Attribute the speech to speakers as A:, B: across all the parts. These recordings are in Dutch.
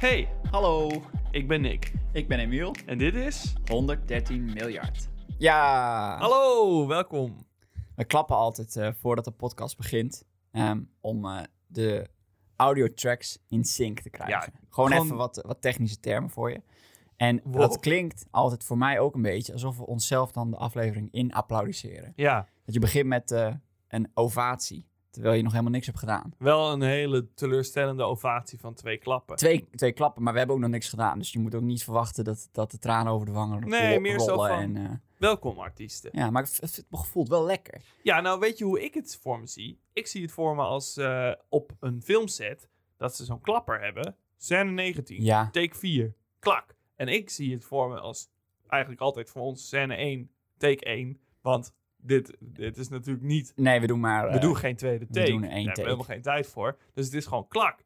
A: Hey,
B: Hallo,
A: ik ben Nick
B: ik ben Emiel.
A: en dit is...
B: 113 miljard.
C: Ja,
A: Hallo, welkom.
C: we klappen altijd eh, voordat de podcast begint. ehm, om eh, de audiotracks in sync te krijgen.
A: Ja,
C: gewoon,
A: gewoon-
C: even wat, wat technische termen voor je. En
A: Wow.
C: dat klinkt altijd voor mij ook een beetje alsof we onszelf dan de aflevering in applaudisseren.
A: Ja,
C: Dat je begint met eh, een ovatie, terwijl je nog helemaal niks hebt gedaan.
A: wel een hele teleurstellende ovatie van twee klappen.
C: Twee, twee klappen, maar we hebben ook nog niks gedaan. Dus je moet ook niet verwachten dat, dat de tranen over de wangen ro-
A: Nee,
C: ro-
A: meer zo
C: rollen
A: van-
C: En, eh,
A: Welkom artiesten.
C: ja, maar het, het gevoelt wel lekker.
A: Ja, nou weet je hoe ik het voor me zie? Ik zie het voor me als eh, op een filmset dat ze zo'n klapper hebben. Scène 19,
C: Ja.
A: take 4, klak. En ik zie het voor me als eigenlijk altijd voor ons scène 1, take 1. Want dit, dit is natuurlijk niet
C: Nee, we doen maar...
A: We
C: eh,
A: doen geen tweede take.
C: doen er één
A: Daar hebben we
C: take.
A: helemaal geen tijd voor. Dus het is gewoon klak.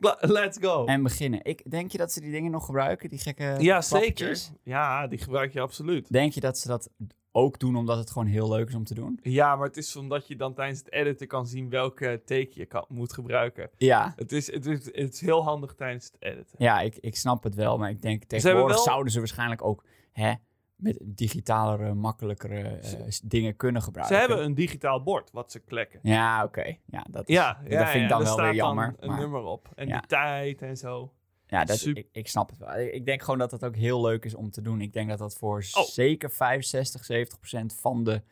A: Kla- Let's go.
C: En eh, beginnen. Ik, denk je dat ze die dingen nog gebruiken, die gekke
A: ja, zeker.
C: klappertjes?
A: Ja, die gebruik je absoluut.
C: Denk je dat ze dat ook doen omdat het gewoon heel leuk is om te doen?
A: Ja, maar het is omdat je dan tijdens het editen kan zien welke take je kan, moet gebruiken.
C: Ja,
A: Het is, het, is, het is heel handig tijdens het editen.
C: ja ik, ik snap het wel, maar ik denk tegenwoordig
A: wel-
C: zouden ze waarschijnlijk ook hè, met digitalere, makkelijkere eh, s- dingen kunnen
A: Ze
C: gebruiken.
A: hebben een digitaal bord wat ze klekken.
C: Ja, oké. Ja, dat, is-
A: Ja, ja,
C: dat vind
A: ja,
C: ik dan
A: daar
C: wel
A: staat
C: weer jammer.
A: Dan een
C: maar-
A: nummer op. En
C: Ja.
A: de tijd en zo.
C: Ja, dat,
A: Sup-
C: ik, ik snap het wel. Ik ik denk gewoon dat dat ook heel leuk is om te doen. Ik denk dat dat voor
A: Oh.
C: zeker 65, 70 procent van de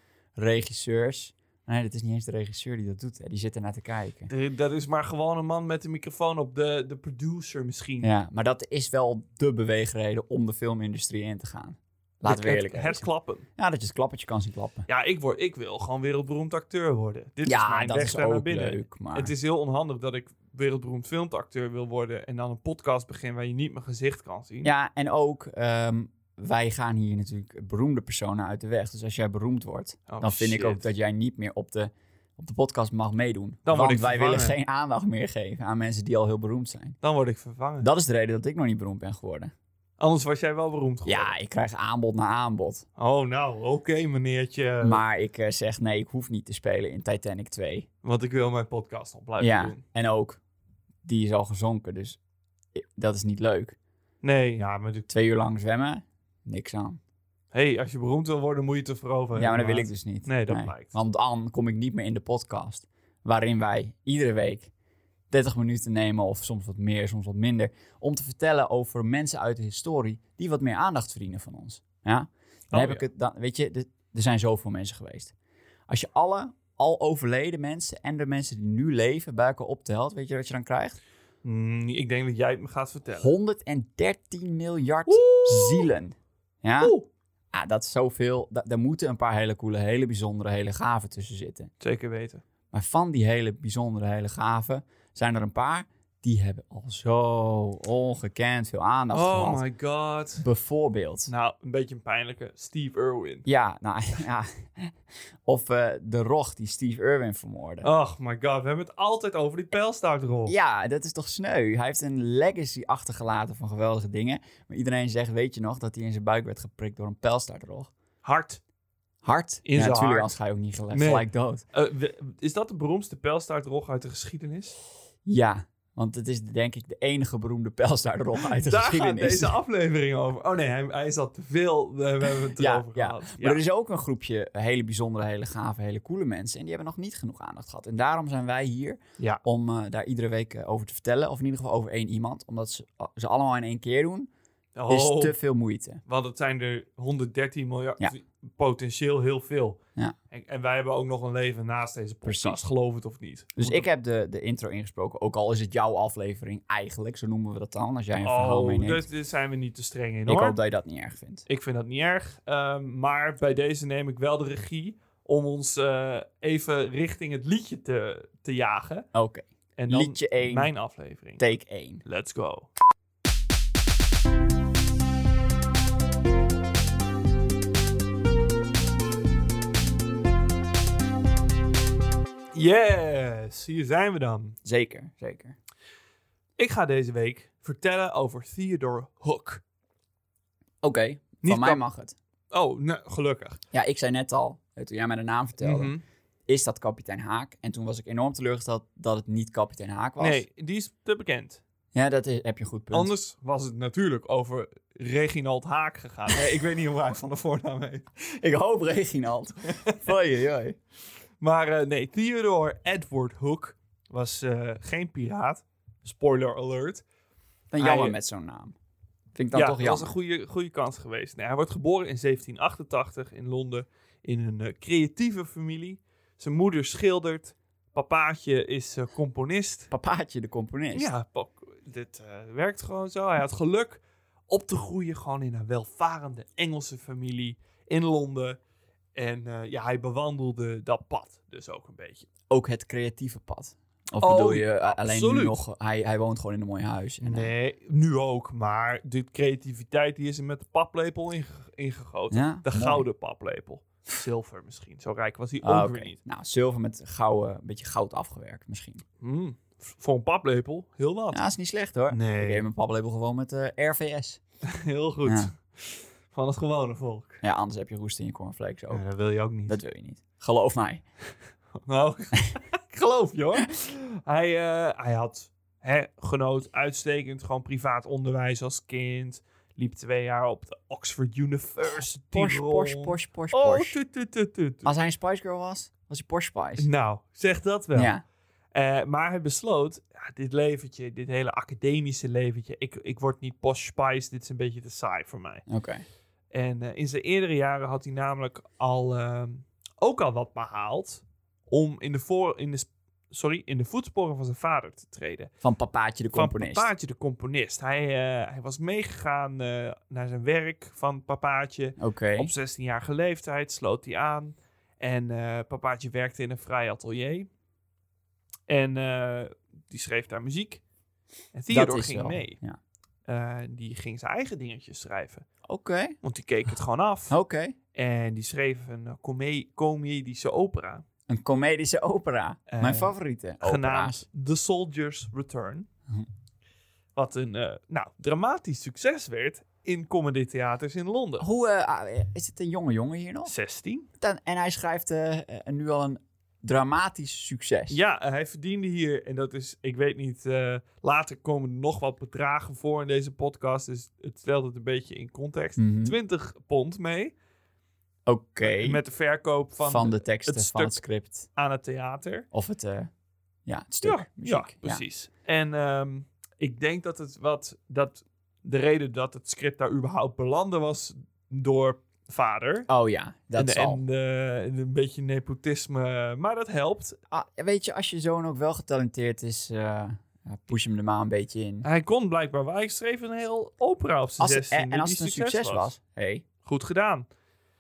C: regisseurs... Nee, dat is niet eens de regisseur die dat doet. Hè. Die zit ernaar te kijken.
A: De- dat is maar gewoon een man met een microfoon op. De, de producer misschien.
C: Ja, maar dat is wel de beweegreden om de filmindustrie in te gaan. Laten we
A: Het-
C: eerlijk
A: het,
C: zijn.
A: het klappen.
C: Ja, dat je het klappertje kan zien klappen.
A: Ja, ik, word, ik wil gewoon wereldberoemd acteur worden. Dit is
C: ja,
A: mijn
C: dat
A: weg
C: is
A: daar naar
C: ook
A: binnen.
C: leuk. Maar
A: Het is heel onhandig dat ik wereldberoemd filmacteur wil worden en dan een podcast begin waar je niet mijn gezicht kan zien.
C: Ja, en ook, ehm, wij gaan hier natuurlijk beroemde personen uit de weg. Dus als jij beroemd wordt,
A: Oh,
C: dan vind
A: shit.
C: ik ook dat jij niet meer op de, op de podcast mag meedoen.
A: word
C: Want
A: ik
C: wij
A: vervangen.
C: willen geen aandacht meer geven aan mensen die al heel beroemd zijn.
A: Dan word ik vervangen.
C: Dat is de reden dat ik nog niet beroemd ben geworden.
A: Anders was jij wel beroemd geworden.
C: Ja, ik krijg aanbod na aanbod.
A: Oh, nou, oké meneertje.
C: Maar ik eh, zeg nee, ik hoef niet te spelen in Titanic 2.
A: Want ik wil mijn podcast nog blijven
C: Ja,
A: doen.
C: en ook, die is al gezonken, dus i- dat is niet leuk.
A: Nee, ja, maar de-
C: Twee uur lang zwemmen, niks aan.
A: hey, als je beroemd wil worden, moet je het er veroveren.
C: Ja, maar dat wil ik
A: maat.
C: dus niet.
A: Nee, dat blijkt.
C: Want dan kom ik niet meer in de podcast, waarin wij iedere week 30 minuten nemen, of soms wat meer, soms wat minder, om te vertellen over mensen uit de historie die wat meer aandacht verdienen van ons. Ja? Dan
A: Oh,
C: heb ik het, dan, weet je, de- er zijn zoveel mensen geweest. Als je alle al overleden mensen en de mensen die nu leven bij elkaar optelt, weet je wat je dan krijgt?
A: Mm, ik denk dat jij het me gaat vertellen.
C: 113 miljard
A: Oeh.
C: zielen. Ja?
A: Oeh.
C: ja, dat is zoveel. Da- daar moeten een paar hele coole, hele bijzondere, hele gave tussen zitten.
A: Zeker weten.
C: Maar van die hele bijzondere, hele gave zijn er een paar die hebben al zo ongekend veel aandacht
A: Oh
C: gehad.
A: my god.
C: Bijvoorbeeld.
A: Nou, een beetje een pijnlijke. Steve Irwin.
C: Ja, nou ja. Of eh, de roch die Steve Irwin vermoordde.
A: Oh my god, we hebben het altijd over die pijlstaartrol.
C: Ja, dat is toch sneu. Hij heeft een legacy achtergelaten van geweldige dingen. Maar iedereen zegt, weet je nog, dat hij in zijn buik werd geprikt door een pijlstaartrog.
A: Hard.
C: Hard.
A: In
C: ja,
A: zijn
C: natuurlijk,
A: hart.
C: anders ga je ook niet gelijk,
A: Nee.
C: gelijk dood.
A: Eh, we- is dat de beroemdste pijlstaartrol uit de geschiedenis?
C: Ja, want het is denk ik de enige beroemde pijlstaartrog uit de
A: Daar gaat
C: geschiedenis.
A: deze aflevering over. Oh nee, hij, hij is al te veel. eh, We, we hebben het
C: Ja,
A: erover
C: ja.
A: gehad.
C: Maar er is ook een groepje hele bijzondere, hele gave, hele coole mensen. En die hebben nog niet genoeg aandacht gehad. En daarom zijn wij hier
A: Ja.
C: om eh, daar iedere week eh, over te vertellen. Of in ieder geval over één iemand. Omdat ze, oh, ze allemaal in één keer doen,
A: Oh,
C: is te veel moeite.
A: Want het zijn er 113 miljard.
C: Ja.
A: Potentieel heel veel.
C: Ja.
A: En, en wij hebben ook nog een leven naast deze podcast.
C: Precies.
A: Geloof het of niet.
C: Dus
A: Moet
C: ik heb de, de intro ingesproken. Ook al is het jouw aflevering eigenlijk, zo noemen we dat dan. Als jij een verhaal
A: Oh,
C: meeneemt.
A: dus daar zijn we niet te streng in
C: Ik
A: hoor.
C: hoop dat je dat niet erg vindt.
A: Ik vind dat niet erg. ehm, maar bij deze neem ik wel de regie om ons eh, even richting het liedje te, te jagen.
C: Oké,
A: En dan
C: liedje 1,
A: mijn aflevering.
C: take 1.
A: Let's go. Yes, hier zijn we dan.
C: Zeker, zeker.
A: Ik ga deze week vertellen over Theodore Hook.
C: Oké,
A: Niet
C: van mij
A: kan-
C: mag het.
A: Oh, nou, gelukkig.
C: Ja, ik zei net al, eh, toen jij mij de naam vertelde.
A: Mhm.
C: is dat kapitein Haak? En toen was ik enorm teleurgesteld dat het niet kapitein Haak was.
A: Nee, die is te bekend.
C: Ja, dat is, heb je een goed punt.
A: Anders was het natuurlijk over Reginald Haak gegaan. Nee, ik weet niet hoe hij van de voornaam heet.
C: Ik hoop Reginald. Oei,
A: Maar eh, nee, Theodore Edward Hook was eh, geen piraat. Spoiler alert.
C: Dan jammer
A: Hij-
C: met zo'n naam. Vind ik dan
A: ja,
C: toch
A: dat was een
C: jammer.
A: goede, goede kans geweest. Nee, hij wordt geboren in 1788 in Londen in een eh, creatieve familie. Zijn moeder schildert. Papaatje is eh, componist.
C: Papaatje de componist.
A: Ja, pa- dit eh, werkt gewoon zo. Hij had geluk op te groeien gewoon in een welvarende Engelse familie in Londen. En eh, ja, hij bewandelde dat pad dus ook een beetje.
C: Ook het creatieve pad. Of
A: Oh,
C: bedoel je eh, alleen nu
A: absoluut.
C: nog... Hij, hij woont gewoon in een mooi huis. En, eh,
A: Nee, nu ook, maar de creativiteit die is er met de paplepel inge- ingegoten.
C: Ja,
A: De
C: mooi.
A: gouden paplepel. Zilver misschien, zo rijk was hij ook
C: Ah,
A: weer
C: oké.
A: niet.
C: Nou, zilver met gouden, een beetje goud afgewerkt misschien.
A: Mm, v- voor een paplepel, heel wat.
C: Ja, is niet slecht hoor. Ik
A: Nee,
C: heb mijn paplepel gewoon met eh, RVS.
A: heel goed.
C: Ja.
A: Van het gewone volk.
C: Ja, anders heb je roest in je cornflakes ook.
A: Ja, dat wil je ook niet.
C: Oh. Dat wil je niet. Geloof mij.
A: Nou, ik geloof je hoor. Hij, eh, hij had hè, genoot uitstekend gewoon privaat onderwijs als kind. Liep twee jaar op de Oxford University
C: Porsche,
A: rond.
C: Porsche, Porsche, Porsche,
A: Oh,
C: Porsche. Ah,
A: tut, tut, tut, tut, tut.
C: Als hij een Spice Girl was, was hij Porsche Spice.
A: Nou, zeg dat wel.
C: Ja.
A: Eh, maar hij besloot, ja, dit leventje, dit hele academische leventje, ik, ik word niet posh spice, dit is een beetje te saai voor mij.
C: Oké.
A: En eh, in zijn eerdere jaren had hij namelijk al, ehm, ook al wat behaald om in de, voor, in, de, s- sorry, in de voetsporen van zijn vader te treden.
C: Van papaatje de componist.
A: Van Papaatje de componist. Hij, eh, hij was meegegaan eh, naar zijn werk van Papaatje.
C: Oké.
A: Op 16-jarige leeftijd sloot hij aan. En eh, Papaatje werkte in een vrij atelier. En eh, die schreef daar muziek. En Theodore ging
C: wel-
A: mee.
C: Ja.
A: Eh, die ging zijn eigen dingetjes schrijven.
C: Oké.
A: Want die keek het gewoon af.
C: Oké.
A: En die schreef een eh, come- comedische opera.
C: Een comedische opera.
A: Eh,
C: Mijn favoriete opera's.
A: Genaamd The Soldier's Return.
C: Hm.
A: Wat een eh, nou, dramatisch succes werd in comedy theaters in Londen.
C: Hoe, eh, ah, is het een jonge jongen hier nog?
A: 16.
C: Dan, en hij schrijft eh, eh, nu al een dramatisch succes.
A: Ja, eh, hij verdiende hier, en dat is, ik weet niet, eh, later komen er nog wat bedragen voor in deze podcast, dus het stelt het een beetje in context.
C: Mhm.
A: 20 pond mee,
C: Oké.
A: met de verkoop van,
C: Van, de teksten,
A: het
C: van het
A: stuk.
C: script.
A: aan het theater.
C: Of het, eh, ja, het stuk.
A: Ja,
C: muziek.
A: ja, precies. En ehm, ik denk dat het wat dat de reden dat het script daar überhaupt belandde was door vader.
C: Oh ja, dat
A: en,
C: zal.
A: en eh, een beetje nepotisme, maar dat helpt.
C: Ah, weet je, als je zoon ook wel getalenteerd is, eh, ja, push hem er maar een beetje in.
A: Hij kon blijkbaar wel. Hij schreef een heel opera op zijn
C: Als het,
A: 16
C: en en als het een succes was, hey,
A: Goed gedaan.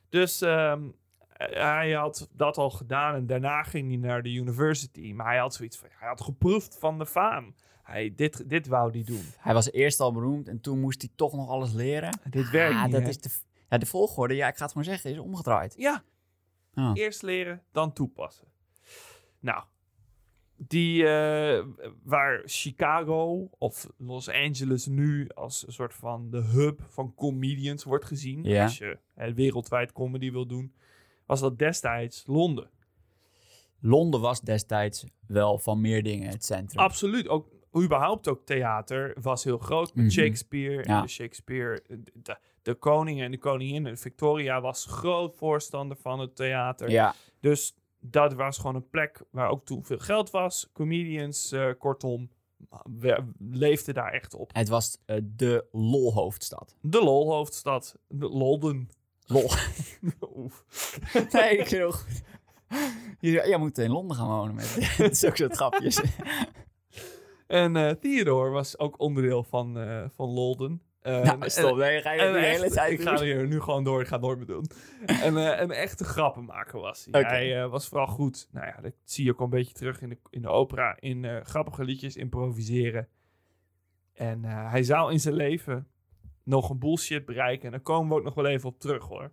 A: Dus ehm, hij had dat al gedaan en daarna ging hij naar de university. Maar hij had zoiets van, hij had geproefd van de faam. Hij, dit, dit wou hij doen.
C: hij was eerst al beroemd en toen moest hij toch nog alles leren.
A: Dit werkt
C: ah,
A: niet,
C: dat
A: hè?
C: is de, ja, de volgorde, ja, ik ga het gewoon zeggen, is omgedraaid.
A: Ja,
C: Ah.
A: Eerst leren, dan toepassen. Nou, die, eh, waar Chicago of Los Angeles nu als een soort van de hub van comedians wordt gezien,
C: Ja.
A: als je eh, wereldwijd comedy wil doen, was dat destijds Londen.
C: Londen was destijds wel van meer dingen het centrum.
A: Absoluut, ook überhaupt ook theater was heel groot met
C: Mhm.
A: Shakespeare en
C: Ja.
A: de Shakespeare, de, de koning en de koningin, Victoria was groot voorstander van het theater.
C: ja,
A: Dus dat was gewoon een plek waar ook toen veel geld was. Comedians, eh, kortom, we leefden daar echt op.
C: het was eh, de lolhoofdstad.
A: De lolhoofdstad, de Lolden.
C: Lol.
A: Oef.
C: nee, ik vind het goed. Je- Jij moet in Londen gaan wonen met dat is ook zo'n grapjes.
A: En eh, Theodore was ook onderdeel van, eh, van Lolden. Eh,
C: nou, stop, nee, ga je
A: en
C: de
A: echt-
C: hele tijd
A: ik ga
C: doen.
A: hier nu gewoon door, ik ga nooit meer doen. en, eh, een echte grappenmaker was hij.
C: Oké.
A: Hij eh, was vooral goed. Nou ja, dat zie je ook een beetje terug in de, in de opera. In eh, grappige liedjes, improviseren. En eh, hij zou in zijn leven nog een bullshit bereiken. En daar komen we ook nog wel even op terug hoor.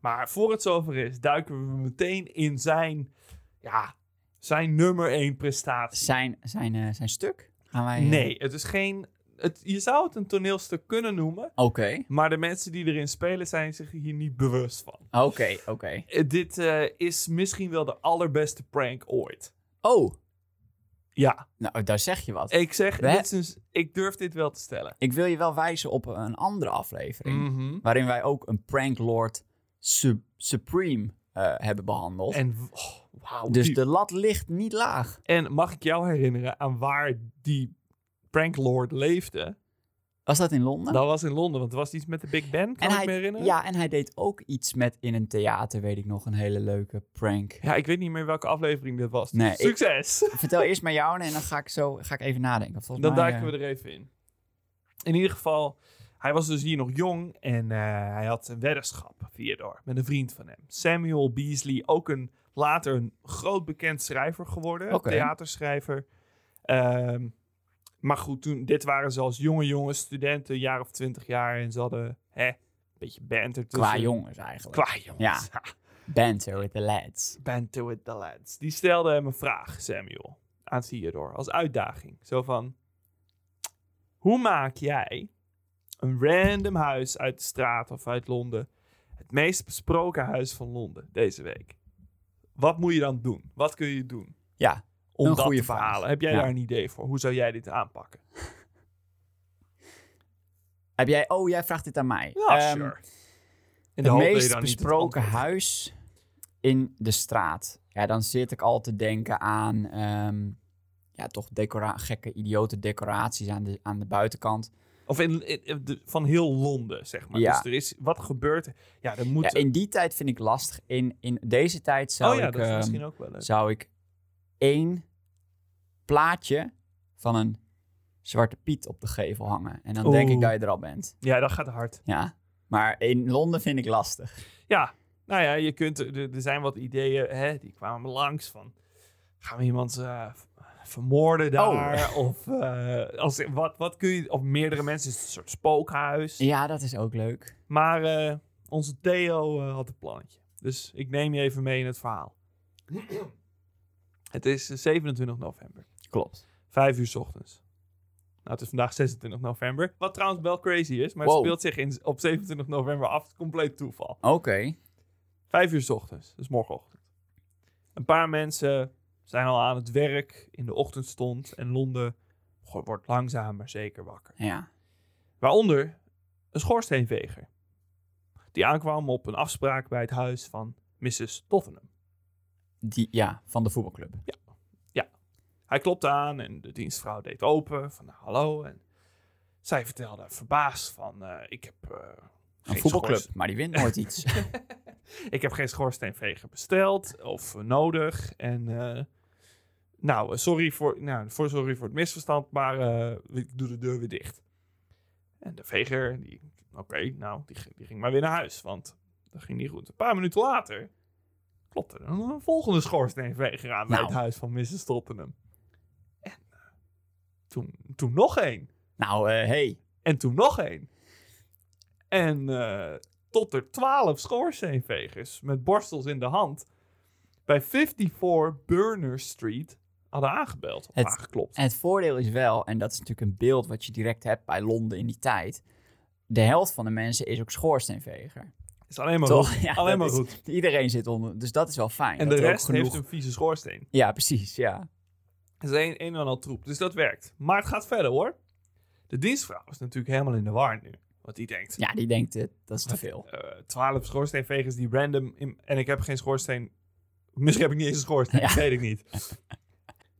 A: Maar voor het zover is, duiken we meteen in zijn, ja, zijn nummer één prestatie.
C: Zijn, zijn, eh, zijn stuk? Gaan wij... eh,
A: Nee, het is geen... Het, je zou het een toneelstuk kunnen noemen.
C: Oké,
A: Maar de mensen die erin spelen zijn zich hier niet bewust van.
C: oké, oké.
A: Eh, Dit eh, is misschien wel de allerbeste prank ooit.
C: Oh,
A: Ja,
C: Nou, daar zeg je wat.
A: ik zeg,
C: We-
A: dit is een- ik durf dit wel te stellen.
C: Ik wil je wel wijzen op een andere aflevering.
A: Mhm.
C: Waarin wij ook een Prank Lord Su- Supreme eh, hebben behandeld.
A: En, w- oh, wauw,
C: dus
A: diep.
C: de lat ligt niet laag.
A: en mag ik jou herinneren aan waar die pranklord leefde?
C: Was dat in Londen?
A: Dat was in Londen, want het was iets met de Big Ben, kan
C: en
A: ik
C: hij,
A: me herinneren?
C: Ja, en hij deed ook iets met in een theater, weet ik nog, een hele leuke prank.
A: Ja, ik weet niet meer welke aflevering dat was.
C: Nee, ik-
A: Succes!
C: Vertel eerst maar jou en dan ga ik zo ga ik even nadenken. Want Volgens
A: Dan
C: mij,
A: duiken
C: eh,
A: we er even in. In ieder geval, hij was dus hier nog jong en eh, hij had een weddenschap, Theodore, met een vriend van hem. Samuel Beasley, ook een, later een groot bekend schrijver geworden,
C: Oké.
A: theaterschrijver. Ehm, maar goed, toen, dit waren ze als jonge jongens, studenten, een jaar of twintig jaar. En ze hadden hè, een beetje banter tussen.
C: Qua jongens eigenlijk.
A: Qua jongens. Ja.
C: Banter with the lads.
A: Banter with the lads. Die stelde hem een vraag, Samuel, aan Theodore, als uitdaging. Zo van, hoe maak jij een random huis uit de straat of uit Londen het meest besproken huis van Londen deze week? Wat moet je dan doen? Wat kun je doen
C: Ja,
A: om
C: Een
A: dat
C: goede
A: te
C: vraag.
A: verhalen? Heb jij
C: Ja.
A: daar een idee voor? Hoe zou jij dit aanpakken?
C: heb jij... Oh, jij vraagt dit aan mij.
A: Ja,
C: Ehm,
A: sure. In de
C: Het
A: hoop dat je
C: meest
A: dan niet het
C: besproken
A: antwoord-
C: huis in de straat. Ja, dan zit ik al te denken aan... ehm, ja, toch decora gekke, idiote decoraties aan de, aan de buitenkant.
A: Of in, in- in de- van heel Londen, zeg maar.
C: Ja.
A: Dus er is, wat gebeurt er? Ja, er moet...
C: Ja, in die tijd vind ik lastig. In, in deze tijd zou
A: oh ja,
C: ik...
A: dat is
C: ehm,
A: misschien ook wel leuk.
C: zou ik één plaatje van een zwarte piet op de gevel hangen. En dan denk ik
A: Oeh.
C: dat je er al bent.
A: Ja, dat gaat hard.
C: Ja. Maar in Londen vind ik lastig.
A: Ja, nou ja, je kunt, er, er zijn wat ideeën, hè, die kwamen langs van, gaan we iemand eh, v-
C: Oh.
A: vermoorden daar? Of eh, als, wat, wat kun je, of meerdere mensen, het is een soort spookhuis.
C: Ja, dat is ook leuk.
A: Maar eh, onze Theo eh, had een plannetje. Dus ik neem je even mee in het verhaal. het is eh, 27 november,
C: Klopt.
A: 5 uur 's ochtends. Nou, het is vandaag 26 november. Wat trouwens wel crazy is, maar het
C: Wow.
A: speelt zich in, op 27 november af. Compleet toeval.
C: Oké.
A: Vijf uur 's ochtends, dus morgenochtend. Een paar mensen zijn al aan het werk in de ochtendstond en Londen go- wordt langzaam maar zeker wakker.
C: Ja.
A: Waaronder een schoorsteenveger. Die aankwam op een afspraak bij het huis van Mrs. Tottenham.
C: Die, ja, van de voetbalclub.
A: Hij klopte aan en de dienstvrouw deed open van nou, hallo. En zij vertelde verbaasd van eh, ik heb eh,
C: Een
A: geen
C: voetbalclub,
A: schoorst-
C: maar die wint nooit iets.
A: ik heb geen schoorsteenveger besteld of eh, nodig. En eh, nou, eh, sorry voor, nou, voor, sorry voor het misverstand, maar eh, ik doe de deur weer dicht. En de veger, die, oké, nou, die, ging- die ging maar weer naar huis, want dat ging niet goed. Een paar minuten later klopte er een, een volgende schoorsteenveger aan bij
C: Nou.
A: het huis van Mrs. Tottenham. En eh, toen, toen nog één.
C: nou, eh, hey.
A: En toen nog één. En eh, tot er twaalf schoorsteenvegers met borstels in de hand bij 54 Burner Street hadden aangebeld. Of
C: Het-
A: aangeklopt.
C: Het voordeel is wel, en dat is natuurlijk een beeld wat je direct hebt bij Londen in die tijd. De helft van de mensen is ook schoorsteenveger.
A: is alleen maar
C: Toch?
A: goed.
C: Ja,
A: alleen maar
C: dat is-
A: goed.
C: Iedereen zit onder, dus dat is wel fijn.
A: En de
C: dat er ook
A: rest heeft een vieze schoorsteen.
C: Ja, precies, ja.
A: Het is een, een en al troep. Dus dat werkt. Maar het gaat verder hoor. De dienstvrouw is natuurlijk helemaal in de war nu. Want die denkt,
C: Ja, die denkt, eh, dat is te veel.
A: Eh, twaalf schoorsteenvegers die random... in- en ik heb geen schoorsteen... Misschien heb ik niet eens een schoorsteen,
C: Ja.
A: dat weet ik niet.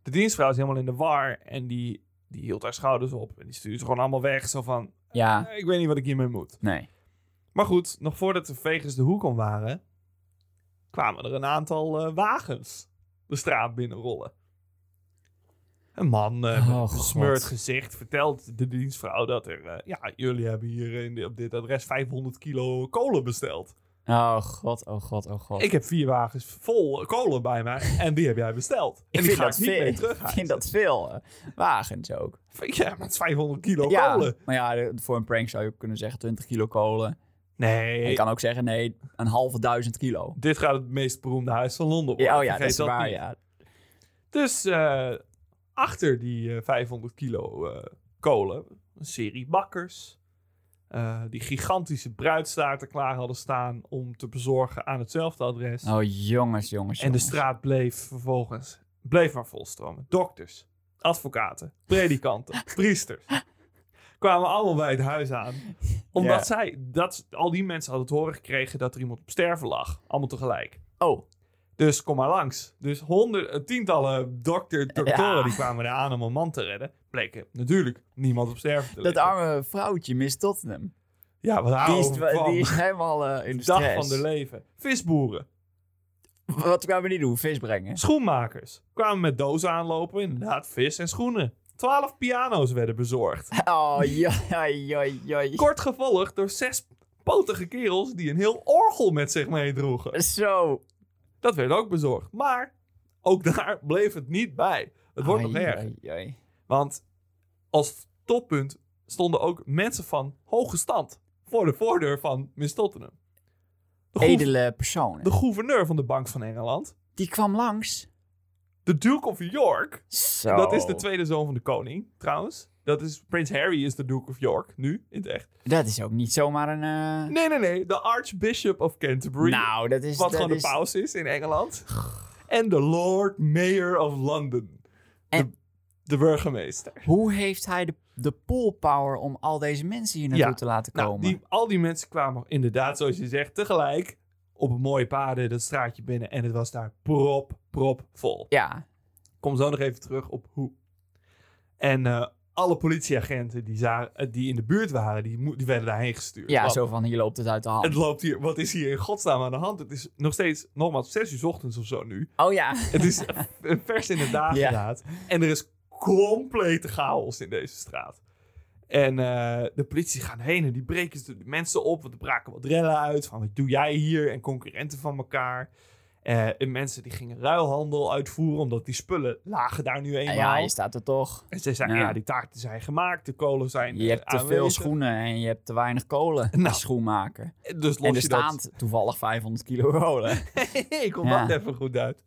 A: De dienstvrouw is helemaal in de war en die, die hield haar schouders op. En die stuurde ze gewoon allemaal weg, zo van...
C: Ja,
A: "Eh, Ik weet niet wat ik hiermee moet.
C: nee.
A: Maar goed, nog voordat de vegers de hoek om waren... kwamen er een aantal eh, wagens de straat binnenrollen. Een man eh,
C: Oh,
A: met een besmeurd
C: God.
A: gezicht vertelt de dienstvrouw dat er... eh, ja, jullie hebben hier in, op dit adres 500 kilo kolen besteld.
C: Oh god, oh god, oh god.
A: Ik heb vier wagens vol kolen bij mij en die heb jij besteld. en die ga ik niet
C: veel.
A: mee terug.
C: Ik vind dat veel. eh, wagens ook.
A: Ja, maar het is 500 kilo
C: ja,
A: kolen.
C: maar ja, de- voor een prank zou je ook kunnen zeggen 20 kilo kolen. En
A: Nee,
C: je kan ook zeggen, nee, een halve duizend kilo.
A: dit gaat het meest beroemde huis van Londen worden.
C: Ja, oh ja, dat
A: Vergeet
C: is waar,
A: niet.
C: ja.
A: Dus eh, achter die eh, 500 kilo eh, kolen, een serie bakkers... eh, die gigantische bruidstaarten klaar hadden staan om te bezorgen aan hetzelfde adres.
C: Oh jongens, jongens,
A: en de
C: jongens.
A: straat bleef vervolgens, bleef maar volstromen. Dokters, advocaten, predikanten, priesters. Kwamen allemaal bij het huis aan. Omdat
C: Ja.
A: zij, dat, al die mensen hadden het horen gekregen dat er iemand op sterven lag. Allemaal tegelijk.
C: Oh,
A: Dus kom maar langs. Dus honderden, tientallen dokter, doktoren
C: Ja.
A: die kwamen eraan om een man te redden. Bleken natuurlijk niemand op sterven te
C: dat
A: liggen.
C: arme vrouwtje, Miss Tottenham.
A: Ja, wat
C: Die
A: houden
C: is,
A: we van?
C: die is helemaal eh, in de
A: Dag
C: stress.
A: van de leven. Visboeren,
C: Wat kwamen die doen? Vis brengen.
A: schoenmakers. Kwamen met dozen aanlopen, inderdaad vis en schoenen. Twaalf piano's werden bezorgd.
C: Oh, joi, joi, joi.
A: Kort gevolgd door zes potige kerels die een heel orgel met zich meedroegen.
C: Zo.
A: Dat werd ook bezorgd. Maar ook daar bleef het niet bij. Het wordt nog
C: Ai,
A: erger.
C: ai, ai.
A: Want als toppunt stonden ook mensen van hoge stand voor de voordeur van Miss Tottenham. De, goe-
C: Edele personen.
A: de gouverneur van de Bank van Engeland,
C: Die kwam langs.
A: de Duke of York,
C: Zo.
A: dat is de tweede zoon van de koning trouwens. Dat is, Prins Harry is de Duke of York, nu, in het echt.
C: Dat is ook niet zomaar een... eh,
A: Nee, nee, nee, de Archbishop of Canterbury,
C: Nou, dat is...
A: wat
C: dat
A: gewoon de
C: is-
A: paus is in Engeland. En de Lord Mayor of London, de,
C: En-
A: de burgemeester.
C: Hoe heeft hij de, de pull power om al deze mensen hier naartoe te laten
A: Nou,
C: komen?
A: die, al die mensen kwamen inderdaad, zoals je zegt, tegelijk op een mooie paden dat straatje binnen. En het was daar prop, prop vol.
C: Ja.
A: Kom zo nog even terug op hoe. En eh, alle politieagenten die, za- eh, die in de buurt waren, die, mo- die werden daarheen gestuurd.
C: Ja,
A: Want
C: zo van hier loopt het uit de hand.
A: Het loopt hier, wat is hier in godsnaam aan de hand? Het is nog steeds, nogmaals, 6 uur 's ochtends of zo nu.
C: Oh ja.
A: Het is vers in de dageraad. En er is complete chaos in deze straat. En eh, de politie gaan heen en die breken de mensen op. Want er braken wat rellen uit. Van wat doe jij hier? En concurrenten van elkaar. Eh, en mensen die gingen ruilhandel uitvoeren. Omdat die spullen lagen daar nu eenmaal.
C: Ja, je staat er toch.
A: En ze zeiden, ja.
C: Ja.
A: die taarten zijn gemaakt. De kolen zijn
C: Je hebt
A: eh,
C: te veel
A: aanwezig.
C: schoenen en je hebt te weinig kolen
A: Nou,
C: als schoenmaker.
A: Dus los
C: En er
A: je dat-
C: staan toevallig 500 kilo kolen.
A: ik kom
C: Ja.
A: dat even goed uit.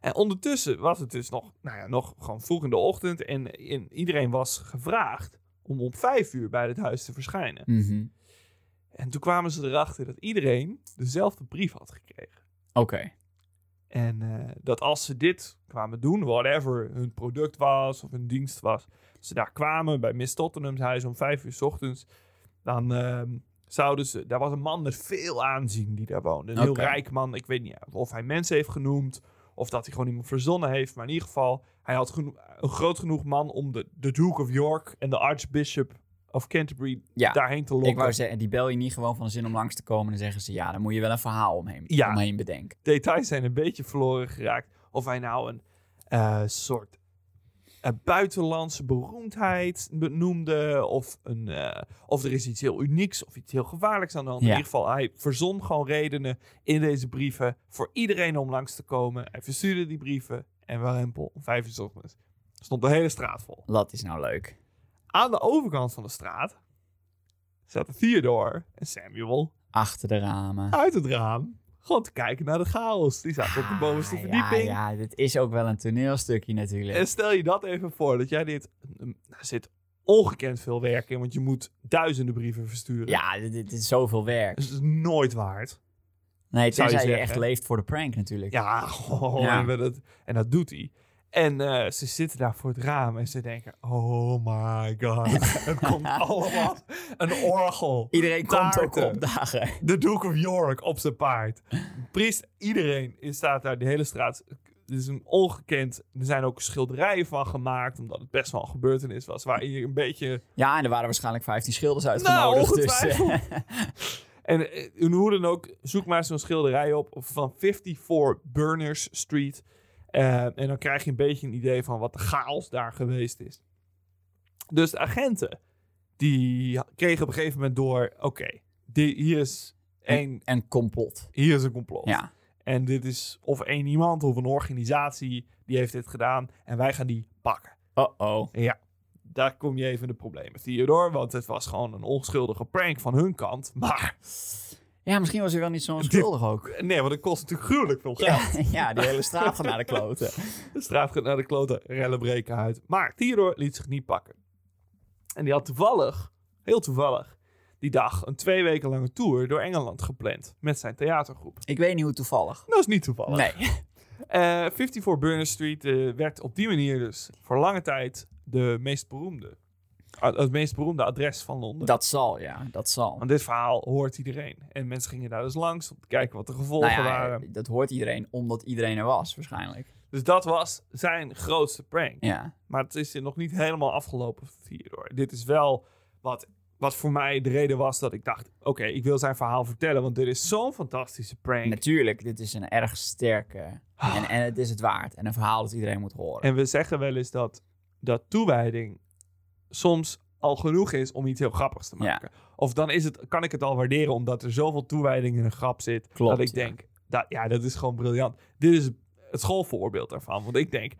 A: En ondertussen was het dus nog, nou ja, nog gewoon vroeg in de ochtend. En, en iedereen was gevraagd om om vijf uur bij het huis te verschijnen.
C: Mhm.
A: En toen kwamen ze erachter dat iedereen dezelfde brief had gekregen.
C: Oké.
A: En eh, dat als ze dit kwamen doen, whatever hun product was of hun dienst was. Als ze daar kwamen bij Miss Tottenham's huis om vijf uur 's ochtends. Dan ehm, zouden ze... Daar was een man met veel aanzien die daar woonde. Een
C: Oké.
A: heel rijk man. Ik weet niet of hij mensen heeft genoemd. Of dat hij gewoon iemand verzonnen heeft. Maar in ieder geval, hij had geno- een groot genoeg man om de, de Duke of York en de Archbishop of Canterbury
C: Ja,
A: daarheen te lokken.
C: Ik wou zeggen, die bel je niet gewoon van de zin om langs te komen. Dan zeggen ze, ja, dan moet je wel een verhaal omheen,
A: Ja.
C: omheen bedenken.
A: details zijn een beetje verloren geraakt. Of hij nou een eh, soort eh, buitenlandse beroemdheid benoemde. Of, een, eh, of er is iets heel unieks of iets heel gevaarlijks aan de hand.
C: Ja.
A: In ieder geval, hij verzon gewoon redenen in deze brieven voor iedereen om langs te komen. Hij verstuurde die brieven en warempel om vijf uur 's ochtends stond de hele straat vol.
C: Dat is nou leuk.
A: Aan de overkant van de straat zaten Theodore en Samuel
C: Achter de ramen.
A: uit het raam gewoon te kijken naar de chaos. Die zaten op de bovenste
C: Ah,
A: verdieping.
C: Ja, ja, dit is ook wel een toneelstukje natuurlijk.
A: En stel je dat even voor, dat jij dit... mm, Daar zit ongekend veel werk in, want je moet duizenden brieven versturen.
C: Ja, dit, dit is zoveel werk.
A: Dus het is nooit waard.
C: Nee,
A: zou je
C: tenzij je
A: zeggen.
C: echt leeft voor de prank natuurlijk.
A: Ja, goh,
C: Ja.
A: En, we dat, en dat doet hij. En eh, ze zitten daar voor het raam en ze denken... Oh my god, het komt allemaal. Een orgel.
C: Iedereen komt ook
A: Taarten.
C: opdagen.
A: De Duke of York op zijn paard. Priest, iedereen is- staat daar, de hele straat. Het is een ongekend. Er zijn ook schilderijen van gemaakt, omdat het best wel een gebeurtenis was. Waar je een beetje.
C: Ja, en er waren waarschijnlijk 15 schilders
A: Nou,
C: uitgenodigd. dus, eh,
A: ongetwijfeld. En eh, en hoe dan ook, zoek maar zo'n schilderij op van 54 Burners Street. Eh, en dan krijg je een beetje een idee van wat de chaos daar geweest is. Dus de agenten, die kregen op een gegeven moment door: oké, die- hier, is een,
C: een, een complot.
A: hier is een complot.
C: Ja.
A: En dit is of één iemand of een organisatie die heeft dit gedaan. En wij gaan die pakken.
C: Oh-oh.
A: Daar kom je even in de problemen, Theodore. Want het was gewoon een onschuldige prank van hun kant. Maar
C: Ja, misschien was hij wel niet zo onschuldig ook.
A: nee, want het kost natuurlijk gruwelijk veel geld.
C: ja, die hele straat gaat naar de kloten.
A: De straat gaat naar de klote, rellen breken uit. Maar Theodore liet zich niet pakken. En die had toevallig, heel toevallig, die dag een twee weken lange tour door Engeland gepland. Met zijn theatergroep.
C: Ik weet niet hoe toevallig.
A: Dat is niet toevallig.
C: Nee.
A: Eh, 54 Burner Street eh, werd op die manier dus voor lange tijd de meest beroemde, ah, het meest beroemde adres van Londen.
C: Dat zal, ja, dat zal.
A: Want dit verhaal hoort iedereen. En mensen gingen daar dus langs om te kijken wat de gevolgen
C: Nou ja,
A: waren.
C: dat hoort iedereen, omdat iedereen er was, waarschijnlijk.
A: Dus dat was zijn grootste prank.
C: Ja,
A: Maar het is nog niet helemaal afgelopen hierdoor. Dit is wel wat, wat voor mij de reden was dat ik dacht... oké, ik wil zijn verhaal vertellen, want dit is zo'n fantastische prank.
C: natuurlijk, dit is een erg sterke. En, en het is het waard. En een verhaal dat iedereen moet horen.
A: Ah. En we zeggen wel eens dat, dat toewijding soms al genoeg is om iets heel grappigs te
C: Ja.
A: maken. Of dan is het, kan ik het al waarderen omdat er zoveel toewijding in een grap zit.
C: Klopt,
A: dat ik
C: ja.
A: denk, dat, ja, dat is gewoon briljant. Dit is het schoolvoorbeeld daarvan. Want ik denk,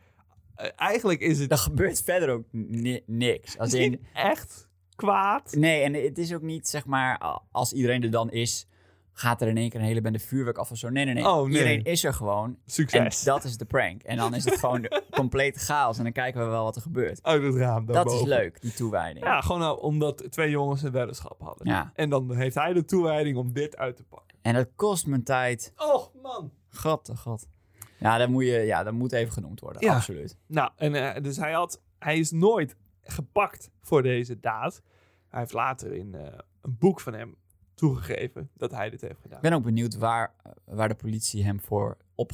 A: eh, eigenlijk is het
C: Er gebeurt verder ook ni- niks. Als in,
A: niet echt kwaad.
C: Nee, en het is ook niet, zeg maar, a- als iedereen er dan is, gaat er in één keer een hele bende vuurwerk af of zo. Nee, nee, nee.
A: Oh, nee.
C: Iedereen is er gewoon. En
A: Succes.
C: dat is de prank. En dan is het gewoon de complete chaos. En dan kijken we wel wat er gebeurt.
A: Uit het raam
C: Dat is
A: daarboven.
C: leuk, die toewijding.
A: Ja, gewoon nou, omdat twee jongens een weddenschap hadden.
C: Ja.
A: En dan heeft hij de toewijding om dit uit te pakken.
C: En dat kost mijn tijd.
A: Och, man.
C: God, oh god. Ja, dat moet, je, ja, dat moet even genoemd worden.
A: Ja.
C: Absoluut.
A: Nou, en, eh, dus hij, had, hij is nooit gepakt voor deze daad. Hij heeft later in eh, een boek van hem toegegeven dat hij dit heeft gedaan.
C: Ik ben ook benieuwd waar, waar de politie hem voor op...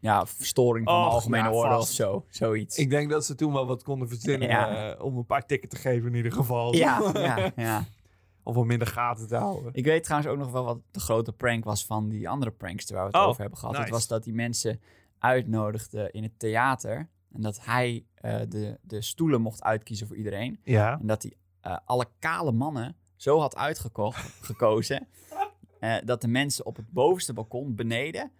C: Ja, verstoring van de
A: Och,
C: algemene
A: ja,
C: orde
A: vast.
C: of zo. Zoiets.
A: Ik denk dat ze toen wel wat konden verzinnen
C: Ja.
A: eh, om een paar tikken te geven in ieder geval.
C: ja, ja, ja.
A: of om minder gaten te houden.
C: Ik weet trouwens ook nog wel wat de grote prank was van die andere prankster waar we het
A: Oh,
C: over hebben gehad.
A: nice.
C: Het was dat die mensen uitnodigden in het theater. En dat hij eh, de, de stoelen mocht uitkiezen voor iedereen.
A: Ja.
C: En dat hij eh, alle kale mannen zo had uitgekozen. dat de mensen op het bovenste balkon beneden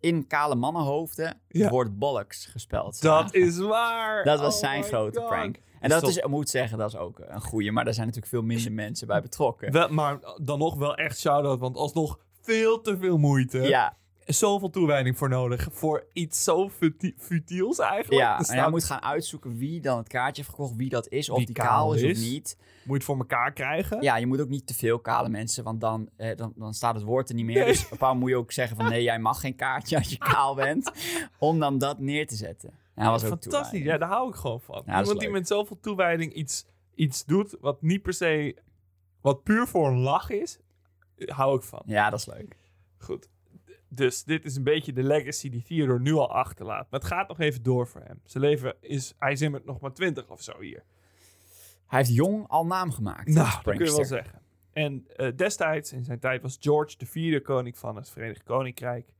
C: in kale mannenhoofden
A: Ja.
C: het woord bollocks gespeld.
A: Dat
C: zagen.
A: is waar.
C: dat was
A: Oh
C: zijn
A: my
C: grote
A: God.
C: prank. En
A: Is
C: dat
A: dat-
C: is, ik moet zeggen, dat is ook een goeie. Maar daar zijn natuurlijk veel minder mensen bij betrokken.
A: Wel, maar dan nog wel echt shout-out, want alsnog veel te veel moeite.
C: Ja,
A: Zoveel toewijding voor nodig. Voor iets zo futi- futiels eigenlijk. Dus
C: Ja,
A: Er
C: en
A: staat-
C: hij moet gaan uitzoeken wie dan het kaartje heeft gekocht, wie dat is, of
A: Wie
C: die kaal
A: kaal
C: is,
A: is.
C: of niet.
A: moet je het voor elkaar krijgen.
C: Ja, je moet ook niet te veel kale mensen, want dan, eh, dan, dan staat het woord er niet meer.
A: Nee.
C: Dus een paar moet je ook zeggen van nee, jij mag geen kaartje als je kaal bent, om dan dat neer te zetten. En hij was ook
A: Fantastisch, ja,
C: toewijding.
A: daar hou ik gewoon van.
C: Ja, dat is
A: Iemand die
C: leuk.
A: met zoveel toewijding iets, iets doet wat niet per se, wat puur voor een lach is, eh, hou ik van.
C: Ja, dat is leuk.
A: Goed. D- Dus dit is een beetje de legacy die Theodore nu al achterlaat. Maar het gaat nog even door voor hem. Zijn leven is, hij is immers nog maar twintig of zo hier.
C: Hij heeft jong al naam gemaakt. als
A: Nou, dat kun je wel
C: prankster.
A: zeggen. En eh, destijds, in zijn tijd, was George de vierde koning van het Verenigd Koninkrijk.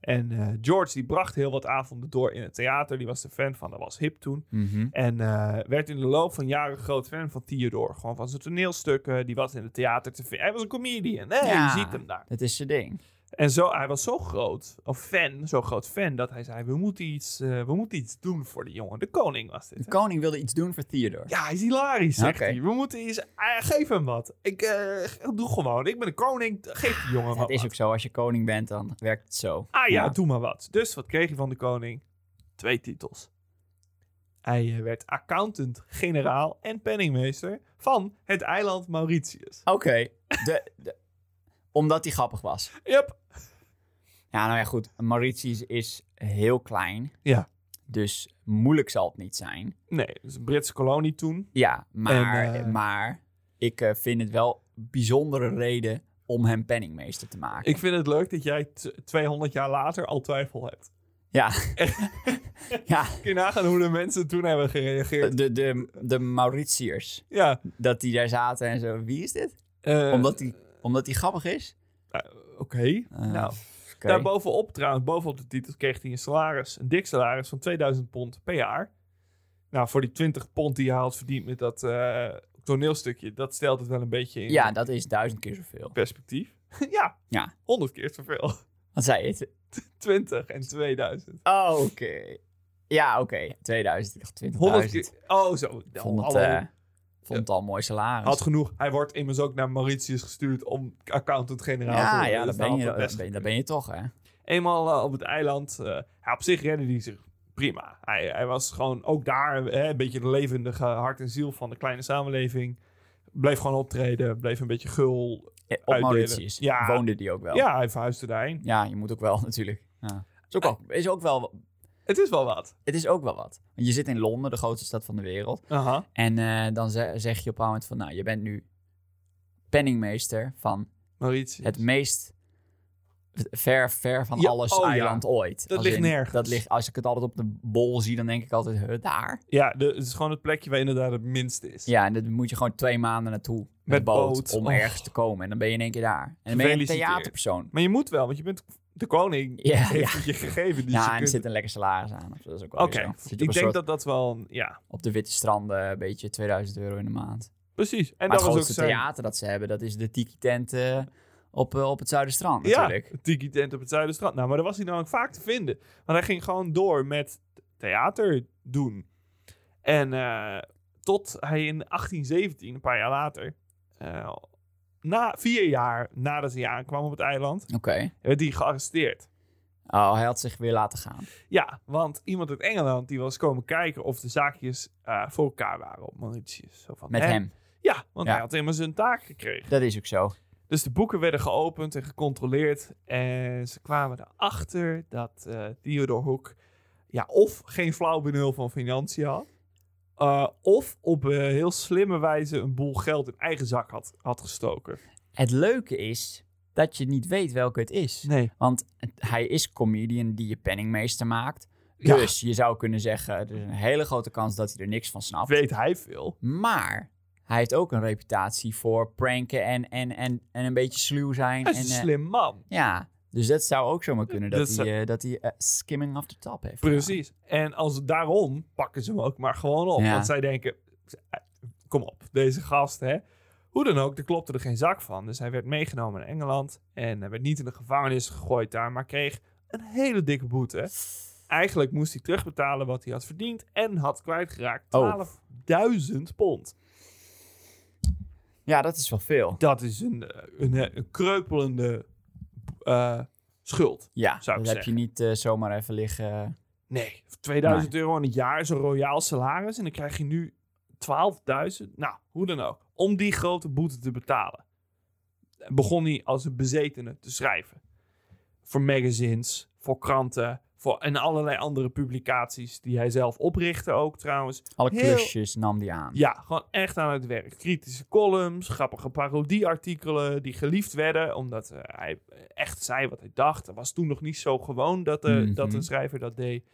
A: En eh, George die bracht heel wat avonden door in het theater. Die was er fan van, dat was hip toen.
C: Mhm.
A: En eh, werd in de loop van jaren groot fan van Theodore. Gewoon van zijn toneelstukken. Die was in het theater te vinden. Hij was een comedian. Hey,
C: Ja.
A: Je ziet hem daar.
C: Dat is zijn ding.
A: En zo, hij was zo groot, of fan, zo groot fan, dat hij zei: We moeten iets, eh, we moeten iets doen voor de jongen. De koning was dit.
C: De
A: hè?
C: koning wilde iets doen voor Theodore.
A: Ja, hij is hilarisch, zegt
C: Oké.
A: hij. We moeten eens... eh, geef hem wat. Ik eh, doe gewoon. Ik ben de koning. Geef die jongen
C: dat
A: wat.
C: is ook zo. Als je koning bent, dan werkt het zo.
A: Ah ja,
C: Ja.
A: doe maar wat. Dus wat kreeg hij van de koning? Twee titels. Hij eh, werd accountant, generaal en penningmeester van het eiland Mauritius.
C: Oké. De, de, omdat hij grappig was.
A: Yep.
C: Ja, nou ja, goed. Mauritius is heel klein.
A: Ja.
C: Dus moeilijk zal het niet zijn.
A: Nee, dat is een Britse kolonie toen.
C: Ja, maar,
A: En, eh,
C: maar ik eh, vind het wel bijzondere reden om hem penningmeester te maken.
A: Ik vind het leuk dat jij t- 200 jaar later al twijfel hebt.
C: Ja. ja,
A: Kun je nagaan hoe de mensen toen hebben gereageerd?
C: de, de, de Mauritiërs.
A: Ja.
C: Dat die daar zaten en zo. Wie is dit?
A: eh,
C: Omdat die, omdat die grappig is?
A: Oké.
C: Eh,
A: nou,
C: oké.
A: Daarbovenop trouwens, bovenop de titel kreeg hij een salaris, een dik salaris van 2000 pond per jaar. Nou, voor die 20 pond die hij had verdiend met dat eh, toneelstukje, dat stelt het wel een beetje in
C: Ja, dat is duizend keer zoveel.
A: perspectief. ja,
C: Ja.
A: 100 keer zoveel.
C: Wat zei je? het?
A: 20 en 2000.
C: Oh, oké. Ja, oké. 2000. Ik dacht
A: 100
C: 20.000.
A: keer. Oh, zo. Nou,
C: vond het,
A: hallo.
C: eh, vond het al een mooi salaris.
A: had genoeg. Hij wordt immers ook naar Mauritius gestuurd om accountant-generaal te
C: ja,
A: worden.
C: ja,
A: Dus
C: dat
A: dan
C: ben, je,
A: had het
C: dat,
A: best
C: ben, dat ben je toch, hè?
A: Eenmaal eh, op het eiland, eh, ja, op zich redde hij zich prima. Hij, hij was gewoon ook daar eh, een beetje de levendige hart en ziel van de kleine samenleving. Bleef gewoon optreden, bleef een beetje gul.
C: Eh, Op
A: Uitdelen.
C: Mauritius
A: Ja.
C: woonde die ook wel.
A: Ja, hij verhuisde daarheen. Ah.
C: Ja, je moet ook wel natuurlijk. Ja. Is, ook wel, is ook wel
A: Het is wel wat.
C: Het is ook wel wat. Want je zit in Londen, de grootste stad van de wereld.
A: Aha.
C: En eh, dan ze- zeg je op een moment van, nou, je bent nu penningmeester van
A: Mauritius.
C: het meest ver, ver van
A: Ja,
C: alles
A: oh ja.
C: eiland ooit.
A: Dat
C: Als
A: ligt
C: in-
A: nergens.
C: Dat ligt, als ik het altijd op de bol zie, dan denk ik altijd, huh, daar?
A: Ja, de- het is gewoon het plekje waar inderdaad het minste is.
C: Ja, en dan moet je gewoon twee maanden naartoe met,
A: Met
C: boot,
A: boot.
C: om
A: Oh.
C: ergens te komen. En dan ben je in één keer daar. En dan ben je een
A: Gefeliciteerd.
C: theaterpersoon.
A: Maar je moet wel, want je bent de koning.
C: Ja,
A: heeft
C: ja.
A: het je gegeven. Dus
C: ja,
A: je
C: en er
A: kunt-
C: zit een lekker salaris aan. of zo, Dat is ook wel
A: Oké,
C: weer zo. Zit je
A: ik
C: op, een
A: denk dat
C: soort-
A: dat wel... Ja,
C: op de witte stranden een beetje 2000 euro in de maand.
A: precies. En
C: maar
A: dat
C: het
A: was ook
C: grootste
A: zijn...
C: theater dat ze hebben, dat is de tiki tent eh, op, eh, op het Zuiderstrand
A: Ja,
C: natuurlijk.
A: het Tiki Tent op het Zuiderstrand. Nou, maar dat was hij namelijk vaak te vinden. Maar hij ging gewoon door met theater doen. En eh, tot hij in 1817, een paar jaar later... eh, na, vier jaar nadat hij aankwam op het eiland,
C: Oké.
A: werd hij gearresteerd.
C: Oh, hij had zich weer laten gaan.
A: Ja, want iemand uit Engeland die was komen kijken of de zaakjes eh, voor elkaar waren op Mauritius. Zo van,
C: Met
A: hè?
C: hem.
A: Ja, want
C: Ja.
A: hij had helemaal zijn taak gekregen.
C: Dat is ook zo.
A: Dus de boeken werden geopend en gecontroleerd. En ze kwamen erachter dat eh Theodor Hoek ja, of geen flauw benul van financiën had. eh, of op eh, heel slimme wijze een boel geld in eigen zak had, had gestoken.
C: Het leuke is dat je niet weet welke het is.
A: Nee.
C: Want het- hij is comedian die je penningmeester maakt.
A: Ja.
C: Dus je zou kunnen zeggen, er is een hele grote kans dat hij er niks van snapt.
A: Weet hij veel?
C: Maar hij heeft ook een reputatie voor pranken en, en, en, en een beetje sluw zijn.
A: Hij is
C: en,
A: een
C: eh,
A: slim man.
C: ja, dus dat zou ook zomaar kunnen dat,
A: Dat
C: hij,
A: zou-
C: eh, dat hij eh, skimming off the top heeft.
A: Precies. En als, daarom pakken ze hem ook maar gewoon op.
C: Ja.
A: Want zij denken, kom op, deze gast, hè. Hoe dan ook, er klopte er geen zak van. Dus hij werd meegenomen naar Engeland. En hij werd niet in de gevangenis gegooid daar, maar kreeg een hele dikke boete. Eigenlijk moest hij terugbetalen wat hij had verdiend en had kwijtgeraakt.
C: Oh.
A: 12.000 pond.
C: gedaan. Ja, dat is wel veel.
A: Dat is een, eh, een, eh, een kreupelende eh, schuld.
C: Ja,
A: Zou ik
C: dat heb je
A: zeggen.
C: niet eh, zomaar even liggen.
A: Nee, 2000 euro in het jaar is een royaal salaris. En dan krijg je nu 12.000. Nou, hoe dan ook. Om die grote boete te betalen. Begon hij als een bezetene te schrijven. Voor magazines, voor kranten. Voor, en allerlei andere publicaties die hij zelf oprichtte ook trouwens.
C: Alle
A: Heel-
C: klusjes nam die aan.
A: Ja, gewoon echt aan het werk. Kritische columns, grappige parodieartikelen die geliefd werden. Omdat eh, hij echt zei wat hij dacht. Het was toen nog niet zo gewoon dat, eh,
C: Mhm.
A: dat een schrijver dat deed.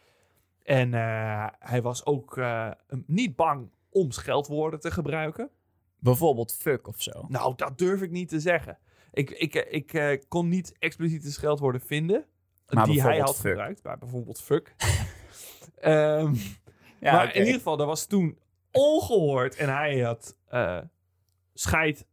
A: En eh, hij was ook eh, niet bang om scheldwoorden te gebruiken.
C: Bijvoorbeeld fuck of zo.
A: Nou, dat durf ik niet te zeggen. Ik, ik, eh, ik eh, kon niet expliciete scheldwoorden vinden.
C: Maar
A: die hij
C: bijvoorbeeld
A: had
C: fuck.
A: gebruikt. Maar bijvoorbeeld fuck. Ehm
C: Ja,
A: maar
C: oké.
A: in ieder geval, dat was toen ongehoord. En hij had eh scheid,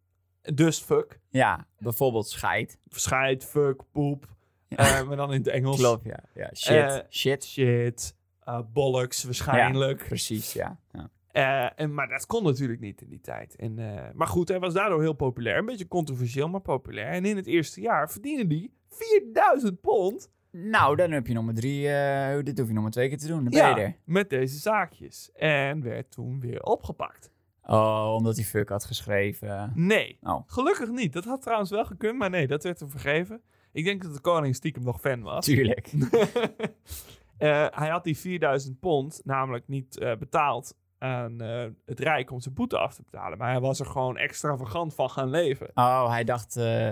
A: dus fuck.
C: ja bijvoorbeeld scheid.
A: Scheid, fuck, poep.
C: Ja.
A: Eh, maar dan in het Engels.
C: Klopt, ja. ja shit,
A: Eh,
C: shit.
A: Shit, eh, bollocks waarschijnlijk.
C: Precies, ja. ja.
A: Eh, en, maar dat kon natuurlijk niet in die tijd. En, eh, maar goed, hij was daardoor heel populair. Een beetje controversieel, maar populair. En in het eerste jaar verdiende hij 4000 pond
C: Nou, dan heb je nummer drie. eh, dit hoef je nog maar twee keer te doen. Dan ben je er.
A: met deze zaakjes. En werd toen weer opgepakt.
C: Oh, omdat hij fuck had geschreven.
A: Nee,
C: Oh,
A: Gelukkig niet. Dat had trouwens wel gekund, maar nee, dat werd hem vergeven. Ik denk dat de koning stiekem nog fan was.
C: tuurlijk.
A: Eh, hij had die 4000 pond namelijk niet eh, betaald aan eh, het Rijk om zijn boete af te betalen. Maar hij was er gewoon extravagant van gaan leven.
C: Oh, hij dacht, eh,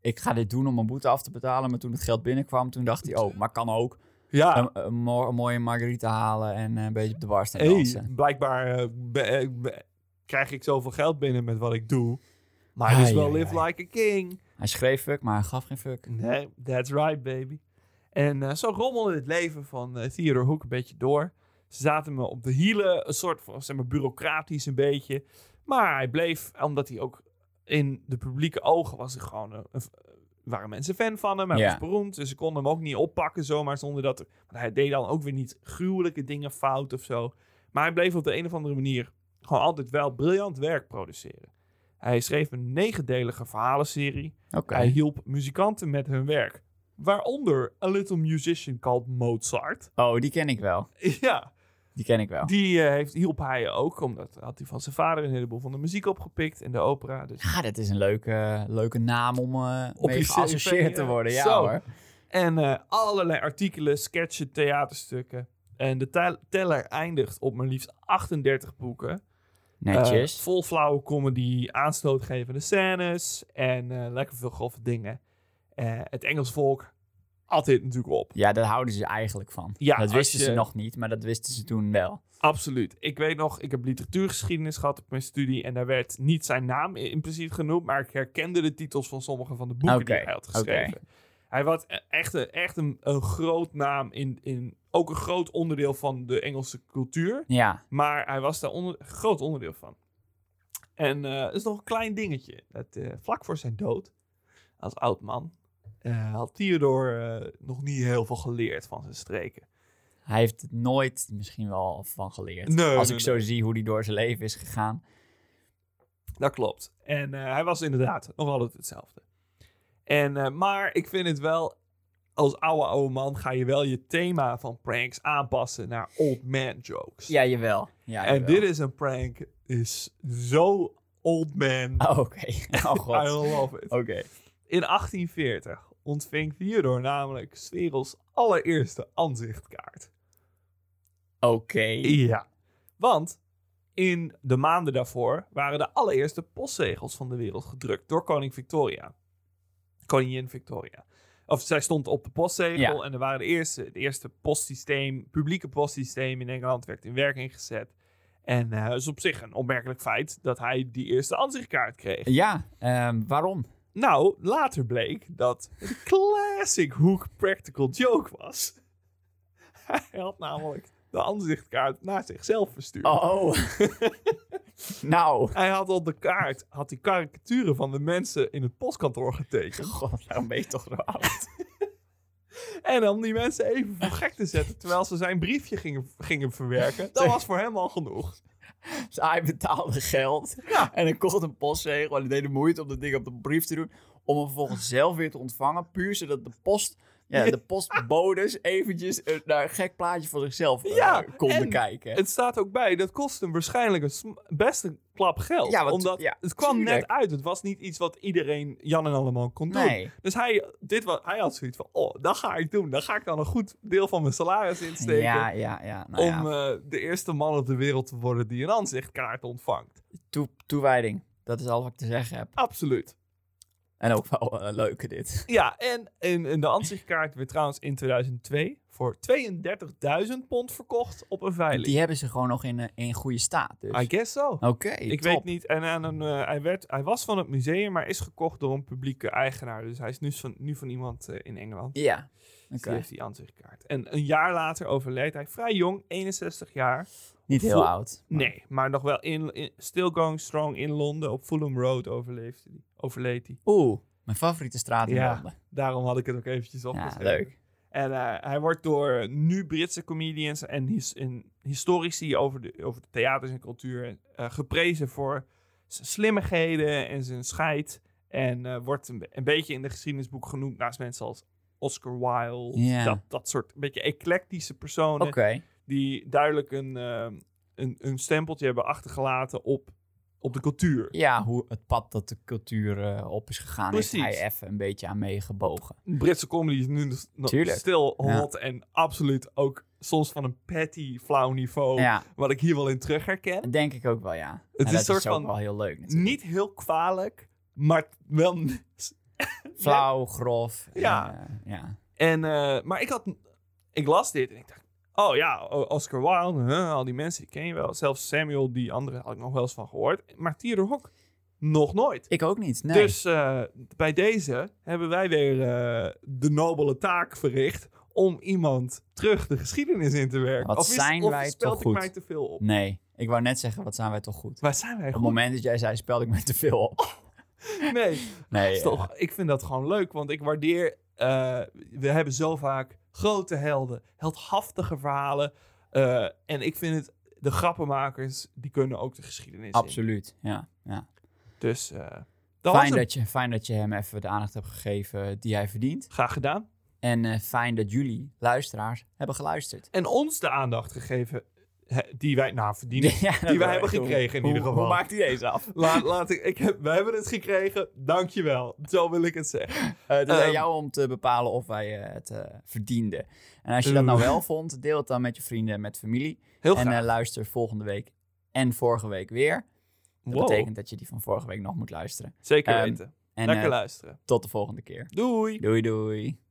C: ik ga dit doen om mijn boete af te betalen. Maar toen het geld binnenkwam, toen dacht hij, oh, maar kan ook.
A: Ja,
C: Een, een mo- een mooie margarita halen en eh, een beetje op de bar staan
A: hey,
C: dansen.
A: blijkbaar eh, be- eh, be- krijg ik zoveel geld binnen met wat ik doe. Maar het
C: Ai,
A: is wel
C: ai,
A: live
C: ai.
A: like a king.
C: Hij schreef fuck, maar hij gaf geen fuck.
A: Nee, that's right, baby. En eh, zo rommelde het leven van eh, Theodore Hoek een beetje door. Ze zaten me op de hielen, een soort van, zeg maar, bureaucratisch een beetje. Maar hij bleef, omdat hij ook in de publieke ogen was, hij gewoon een- een- waren mensen fan van hem. Hij
C: Ja.
A: was beroemd, dus ze konden hem ook niet oppakken zomaar zonder dat... er- Want hij deed dan ook weer niet gruwelijke dingen fout of zo. Maar hij bleef op de een of andere manier gewoon altijd wel briljant werk produceren. Hij schreef een negendelige verhalenserie
C: Oké.
A: hij hielp muzikanten met hun werk. Waaronder A Little Musician Called Mozart.
C: Oh, die ken ik wel.
A: Ja,
C: Die ken ik wel.
A: die eh, heeft, hielp hij ook, omdat had hij van zijn vader een heleboel van de muziek opgepikt en de opera. Dus.
C: Ja, dat is een leuke, leuke naam om eh
A: Op
C: mee
A: je
C: geassocieerd
A: CV,
C: te
A: ja.
C: worden. Ja
A: eh, Zo.
C: hoor.
A: En eh, allerlei artikelen, sketchen, theaterstukken. En de tel- teller eindigt op maar liefst 38 boeken.
C: Netjes.
A: Eh, vol flauwe comedy, aanstootgevende scènes en eh, lekker veel grove dingen. Eh, het Engels volk at dit natuurlijk op.
C: ja, daar houden ze eigenlijk van.
A: Ja,
C: dat
A: als
C: wisten ze
A: je-
C: nog niet, maar dat wisten ze toen wel.
A: Absoluut. Ik weet nog, ik heb literatuurgeschiedenis gehad op mijn studie en daar werd niet zijn naam i- impliciet genoemd, maar ik herkende de titels van sommige van de boeken
C: Oké,
A: die hij had
C: oké.
A: geschreven. Hij was e- echt, een, echt een, een groot naam in, in ook een groot onderdeel van de Engelse cultuur.
C: Ja,
A: Maar hij was daar onder, groot onderdeel van. En eh dat is nog een klein dingetje. Dat, eh, vlak voor zijn dood, als oud man, eh, had Theodore eh, nog niet heel veel geleerd van zijn streken.
C: hij heeft het nooit misschien wel van geleerd.
A: Nee,
C: Als
A: nee,
C: ik zo zie hoe hij door zijn leven is gegaan.
A: Dat klopt. En eh, hij was inderdaad nog altijd hetzelfde. En, eh, maar ik vind het wel, als oude oude man ga je wel je thema van pranks aanpassen naar old man jokes.
C: Ja, jawel. Ja,
A: en
C: jawel.
A: dit is een prank, is zo old man.
C: Oh, oké. Oh, god.
A: I
C: Oké.
A: love it. In 1840 ontving Theodor namelijk 's werelds allereerste aanzichtkaart.
C: Oké.
A: Ja. Want in de maanden daarvoor waren de allereerste postzegels van de wereld gedrukt door koning Victoria. Koningin Victoria. Of zij stond op de postzegel
C: Ja.
A: en er waren de eerste, het eerste postsysteem, publieke postsysteem in Engeland werd in werking gezet. En eh, het is op zich een opmerkelijk feit dat hij die eerste aanzichtkaart kreeg.
C: Ja, ehm, waarom?
A: Nou, later bleek dat het een classic hoek practical joke was. Hij had namelijk de aanzichtkaart naar zichzelf verstuurd.
C: Oh. nou.
A: Hij had op de kaart had die karikaturen van de mensen in het postkantoor getekend.
C: God, nou ben je toch wel oud.
A: En om die mensen even voor gek te zetten terwijl ze zijn briefje gingen, gingen verwerken. Dat was voor hem al genoeg.
C: Dus hij betaalde geld
A: Ja.
C: en hij kocht een postzegel en hij deed de moeite om dat ding op de brief te doen. Om hem vervolgens zelf weer te ontvangen, puur zodat de post... Ja, de postbodes eventjes eh, naar een gek plaatje van zichzelf eh,
A: Ja,
C: konden
A: en
C: kijken.
A: Het staat ook bij, dat kost hem waarschijnlijk een sm- best een klap geld.
C: Ja, want-
A: omdat
C: ja,
A: het kwam
C: tuurlijk.
A: net uit. Het was niet iets wat iedereen Jan en allemaal kon doen.
C: Nee.
A: Dus hij, dit was, hij had zoiets van, oh, dat ga ik doen. Daar ga ik dan een goed deel van mijn salaris insteken.
C: Ja, ja, ja. Nou
A: om
C: ja.
A: eh, de eerste man op de wereld te worden die een aanzichtkaart ontvangt.
C: Toe- toewijding. Dat is al wat ik te zeggen heb.
A: Absoluut.
C: En ook wel een leuke dit.
A: Ja, en, en, en de aanzichtkaart werd trouwens in 2002 voor 32.000 pond verkocht op een veiling.
C: Die hebben ze gewoon nog in, eh, in goede staat. Dus.
A: I guess so.
C: Oké,
A: ik
C: top.
A: weet niet. En aan een, eh, hij, werd, hij was van het museum, maar is gekocht door een publieke eigenaar. Dus hij is nu van, nu van iemand eh, in Engeland. Dus
C: Ja, oké.
A: Die heeft die aanzichtkaart. En een jaar later overleed hij vrij jong, 61 jaar.
C: Niet heel
A: Vol-
C: oud. maar-
A: Nee, maar nog wel in, in- still going strong in Londen op Fulham Road overleefde hij. overleed hij.
C: Oeh, mijn favoriete straat in
A: Ja.
C: Londen.
A: Daarom had ik het ook eventjes
C: Ja,
A: opgeschreven.
C: leuk.
A: En eh, hij wordt door eh, nu Britse comedians en, his- en historici over de, over de theaters en cultuur eh, geprezen voor zijn slimmigheden en zijn scheid. En eh, wordt een, be- een beetje in de geschiedenisboek genoemd naast mensen als Oscar Wilde.
C: Ja.
A: Dat, dat soort een beetje eclectische personen
C: Oké,
A: die duidelijk een, ehm, een, een stempeltje hebben achtergelaten op, op de cultuur.
C: ja, hoe het pad dat de cultuur eh, op is gegaan,
A: Precies.
C: heeft hij even een beetje aan meegebogen.
A: Britse comedy is nu nog- nog
C: Tuurlijk.
A: stil hot en absoluut ook soms van een petty flauw niveau,
C: Ja,
A: wat ik hier wel in terug herken.
C: denk ik ook wel, ja. En
A: Oh. is
C: dat
A: een soort
C: is ook
A: van-
C: wel heel leuk natuurlijk.
A: Niet heel kwalijk, maar wel...
C: Flauw, grof.
A: Ja.
C: eh, ja.
A: En, eh, maar ik had... Ik las dit en ik dacht, oh ja, O- Oscar Wilde, huh, al die mensen, die ken je wel. Zelfs Samuel, die andere had ik nog wel eens van gehoord. Maar Theodore Hok, nog nooit.
C: Ik ook niet, nee.
A: Dus eh, bij deze hebben wij weer eh, de nobele taak verricht om iemand terug de geschiedenis in te werken.
C: Wat
A: of is-
C: zijn
A: of
C: wij
A: spelt
C: toch
A: ik
C: goed. Mm.
A: mij te veel op?
C: Nee, ik wou net zeggen, wat zijn wij toch goed.
A: Waar zijn wij
C: Op het
A: goed
C: moment dat jij zei, spelde ik me te veel op.
A: mee?
C: Nee, eh,
A: Is toch- ik vind dat gewoon leuk, want ik waardeer... eh, we hebben zo vaak grote helden, heldhaftige verhalen. eh, en ik vind het... De grappenmakers, die kunnen ook de geschiedenis
C: eh,
A: in.
C: absoluut. Ja, ja.
A: Dus eh, dat was
C: Fijn,
A: hem.
C: dat je, fijn dat je hem even de aandacht hebt gegeven die hij verdient.
A: Graag gedaan.
C: En eh, fijn dat jullie, luisteraars, hebben geluisterd.
A: En ons de aandacht gegeven hè, die wij, nou verdienen,
C: Ja, dat
A: die wij
C: wel
A: hebben
C: echt.
A: gekregen in
C: Hoe-
A: ieder geval.
C: Hoe maakt hij deze af?
A: Laat, laat ik, ik heb, wij hebben het gekregen, dankjewel. Zo wil ik het zeggen.
C: Eh, het is aan
A: Ehm.
C: jou om te bepalen of wij eh, het eh, verdienden. En als je dat nou
A: Oeh.
C: wel vond, deel het dan met je vrienden en met familie.
A: Heel
C: en
A: graag.
C: eh, luister volgende week en vorige week weer. Dat
A: Wow,
C: betekent dat je die van vorige week nog moet luisteren.
A: Zeker
C: ehm,
A: weten.
C: En
A: Lekker
C: eh,
A: luisteren.
C: tot de volgende keer.
A: Doei.
C: Doei doei.